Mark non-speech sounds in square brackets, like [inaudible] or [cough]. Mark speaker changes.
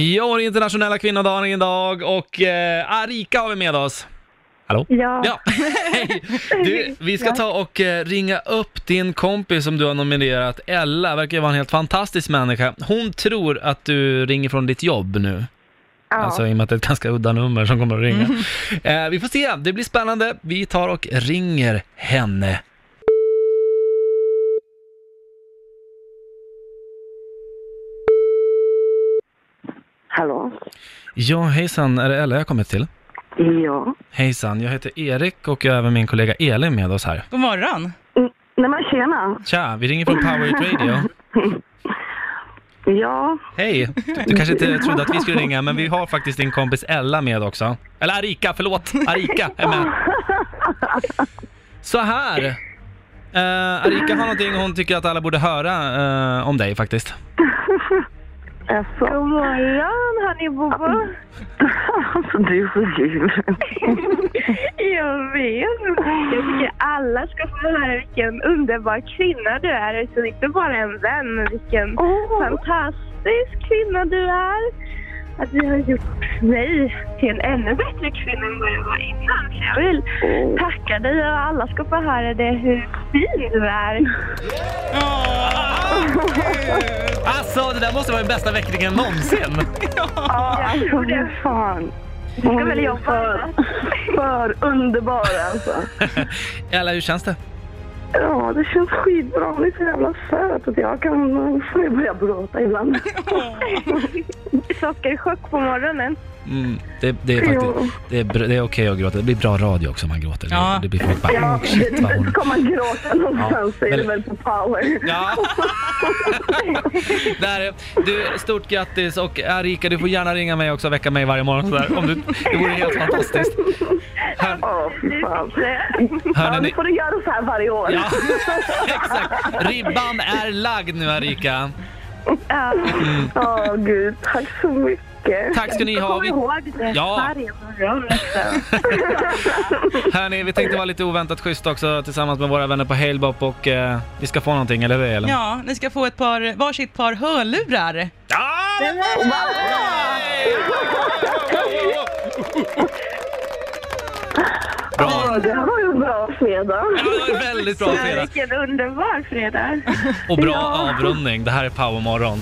Speaker 1: Ja, det är internationella kvinnodagen idag och eh, Arika har vi med oss. Hallå?
Speaker 2: Ja,
Speaker 1: Ja, [laughs] hej! Du, vi ska ta och eh, ringa upp din kompis som du har nominerat, Ella, verkar ju vara en helt fantastisk människa. Hon tror att du ringer från ditt jobb nu,
Speaker 2: ja.
Speaker 1: alltså i och med att det är ett ganska udda nummer som kommer att ringa. Eh, vi får se, det blir spännande. Vi tar och ringer henne.
Speaker 2: hallå?
Speaker 1: Ja, hejsan, är det Ella jag kommit till?
Speaker 2: Ja.
Speaker 1: Hejsan, jag heter Erik och jag har även min kollega Elin med oss här.
Speaker 3: God morgon.
Speaker 2: Mm, Nej men tjena.
Speaker 1: Tja, vi ringer från Power It Radio.
Speaker 2: Ja,
Speaker 1: Hej! Du, du kanske inte trodde att vi skulle ringa, men vi har faktiskt din kompis Ella med också. Eller Arika, förlåt! Arika är med. Så här. Eh, Arika har någonting hon tycker att alla borde höra eh, om dig faktiskt.
Speaker 2: alltså.
Speaker 4: God morgon, hörni Bobo.
Speaker 2: alltså du är så kul.
Speaker 4: Jag vet. Jag tycker alla ska få höra vilken underbar kvinna du är. Så inte bara en vän, men vilken
Speaker 2: Åh,
Speaker 4: fantastisk kvinna du är. Att du har gjort mig till en ännu bättre kvinna än vad jag var innan. Så jag vill tacka dig och alla ska få höra det hur fin du är.
Speaker 1: Alltså, det där måste vara den bästa väckningen någonsin!
Speaker 2: alltså vad fan. Hon
Speaker 4: väl
Speaker 2: är
Speaker 4: jobba.
Speaker 2: för, för underbar alltså.
Speaker 1: Ella, hur känns det?
Speaker 2: Ja, det känns skitbra. Hon är så jävla söt att jag kan... Nu börjar jag gråta ibland.
Speaker 4: Sockerchock på morgonen.
Speaker 1: Mm, det, det är faktiskt... Det är, br- det är okej att gråta. Det blir bra radio också om man gråter.
Speaker 3: Ja.
Speaker 1: Det blir folk bara...
Speaker 2: Ja,
Speaker 1: "Oh, shit, vad hon...
Speaker 2: Ska man gråta någonstans
Speaker 1: Ja,
Speaker 2: så är det
Speaker 1: men-
Speaker 2: väl på power.
Speaker 1: Ja. Där, är- du, stort grattis och Arika, du får gärna ringa mig också och väcka mig varje morgon sådär. Om du, det vore helt fantastiskt. Hör,
Speaker 2: Åh, fy fan. Ja,
Speaker 1: hör
Speaker 2: nu
Speaker 1: ni?
Speaker 2: får du göra så här varje år.
Speaker 1: Ja, [laughs] exakt. Ribban är lagd nu Arika.
Speaker 4: Ja,
Speaker 2: Åh gud, tack så mycket.
Speaker 1: Tack ska ni ha.
Speaker 4: kom
Speaker 1: Vi,
Speaker 4: ihåg det
Speaker 1: Ja.
Speaker 4: varje morgon. Alltså.
Speaker 1: hörni, vi tänkte vara lite oväntat schysst också tillsammans med våra vänner på Halebop och eh, vi ska få någonting, eller hur Elin?
Speaker 3: Ja, ni ska få ett par, varsitt par hörlurar.
Speaker 1: Ah, men vad bra! Bra.
Speaker 2: Ja, det var ju en bra fredag.
Speaker 1: Ja, det var väldigt bra Frida.
Speaker 4: Vilken underbar fredag.
Speaker 1: Och bra avrundning. Det här är Powermorgon.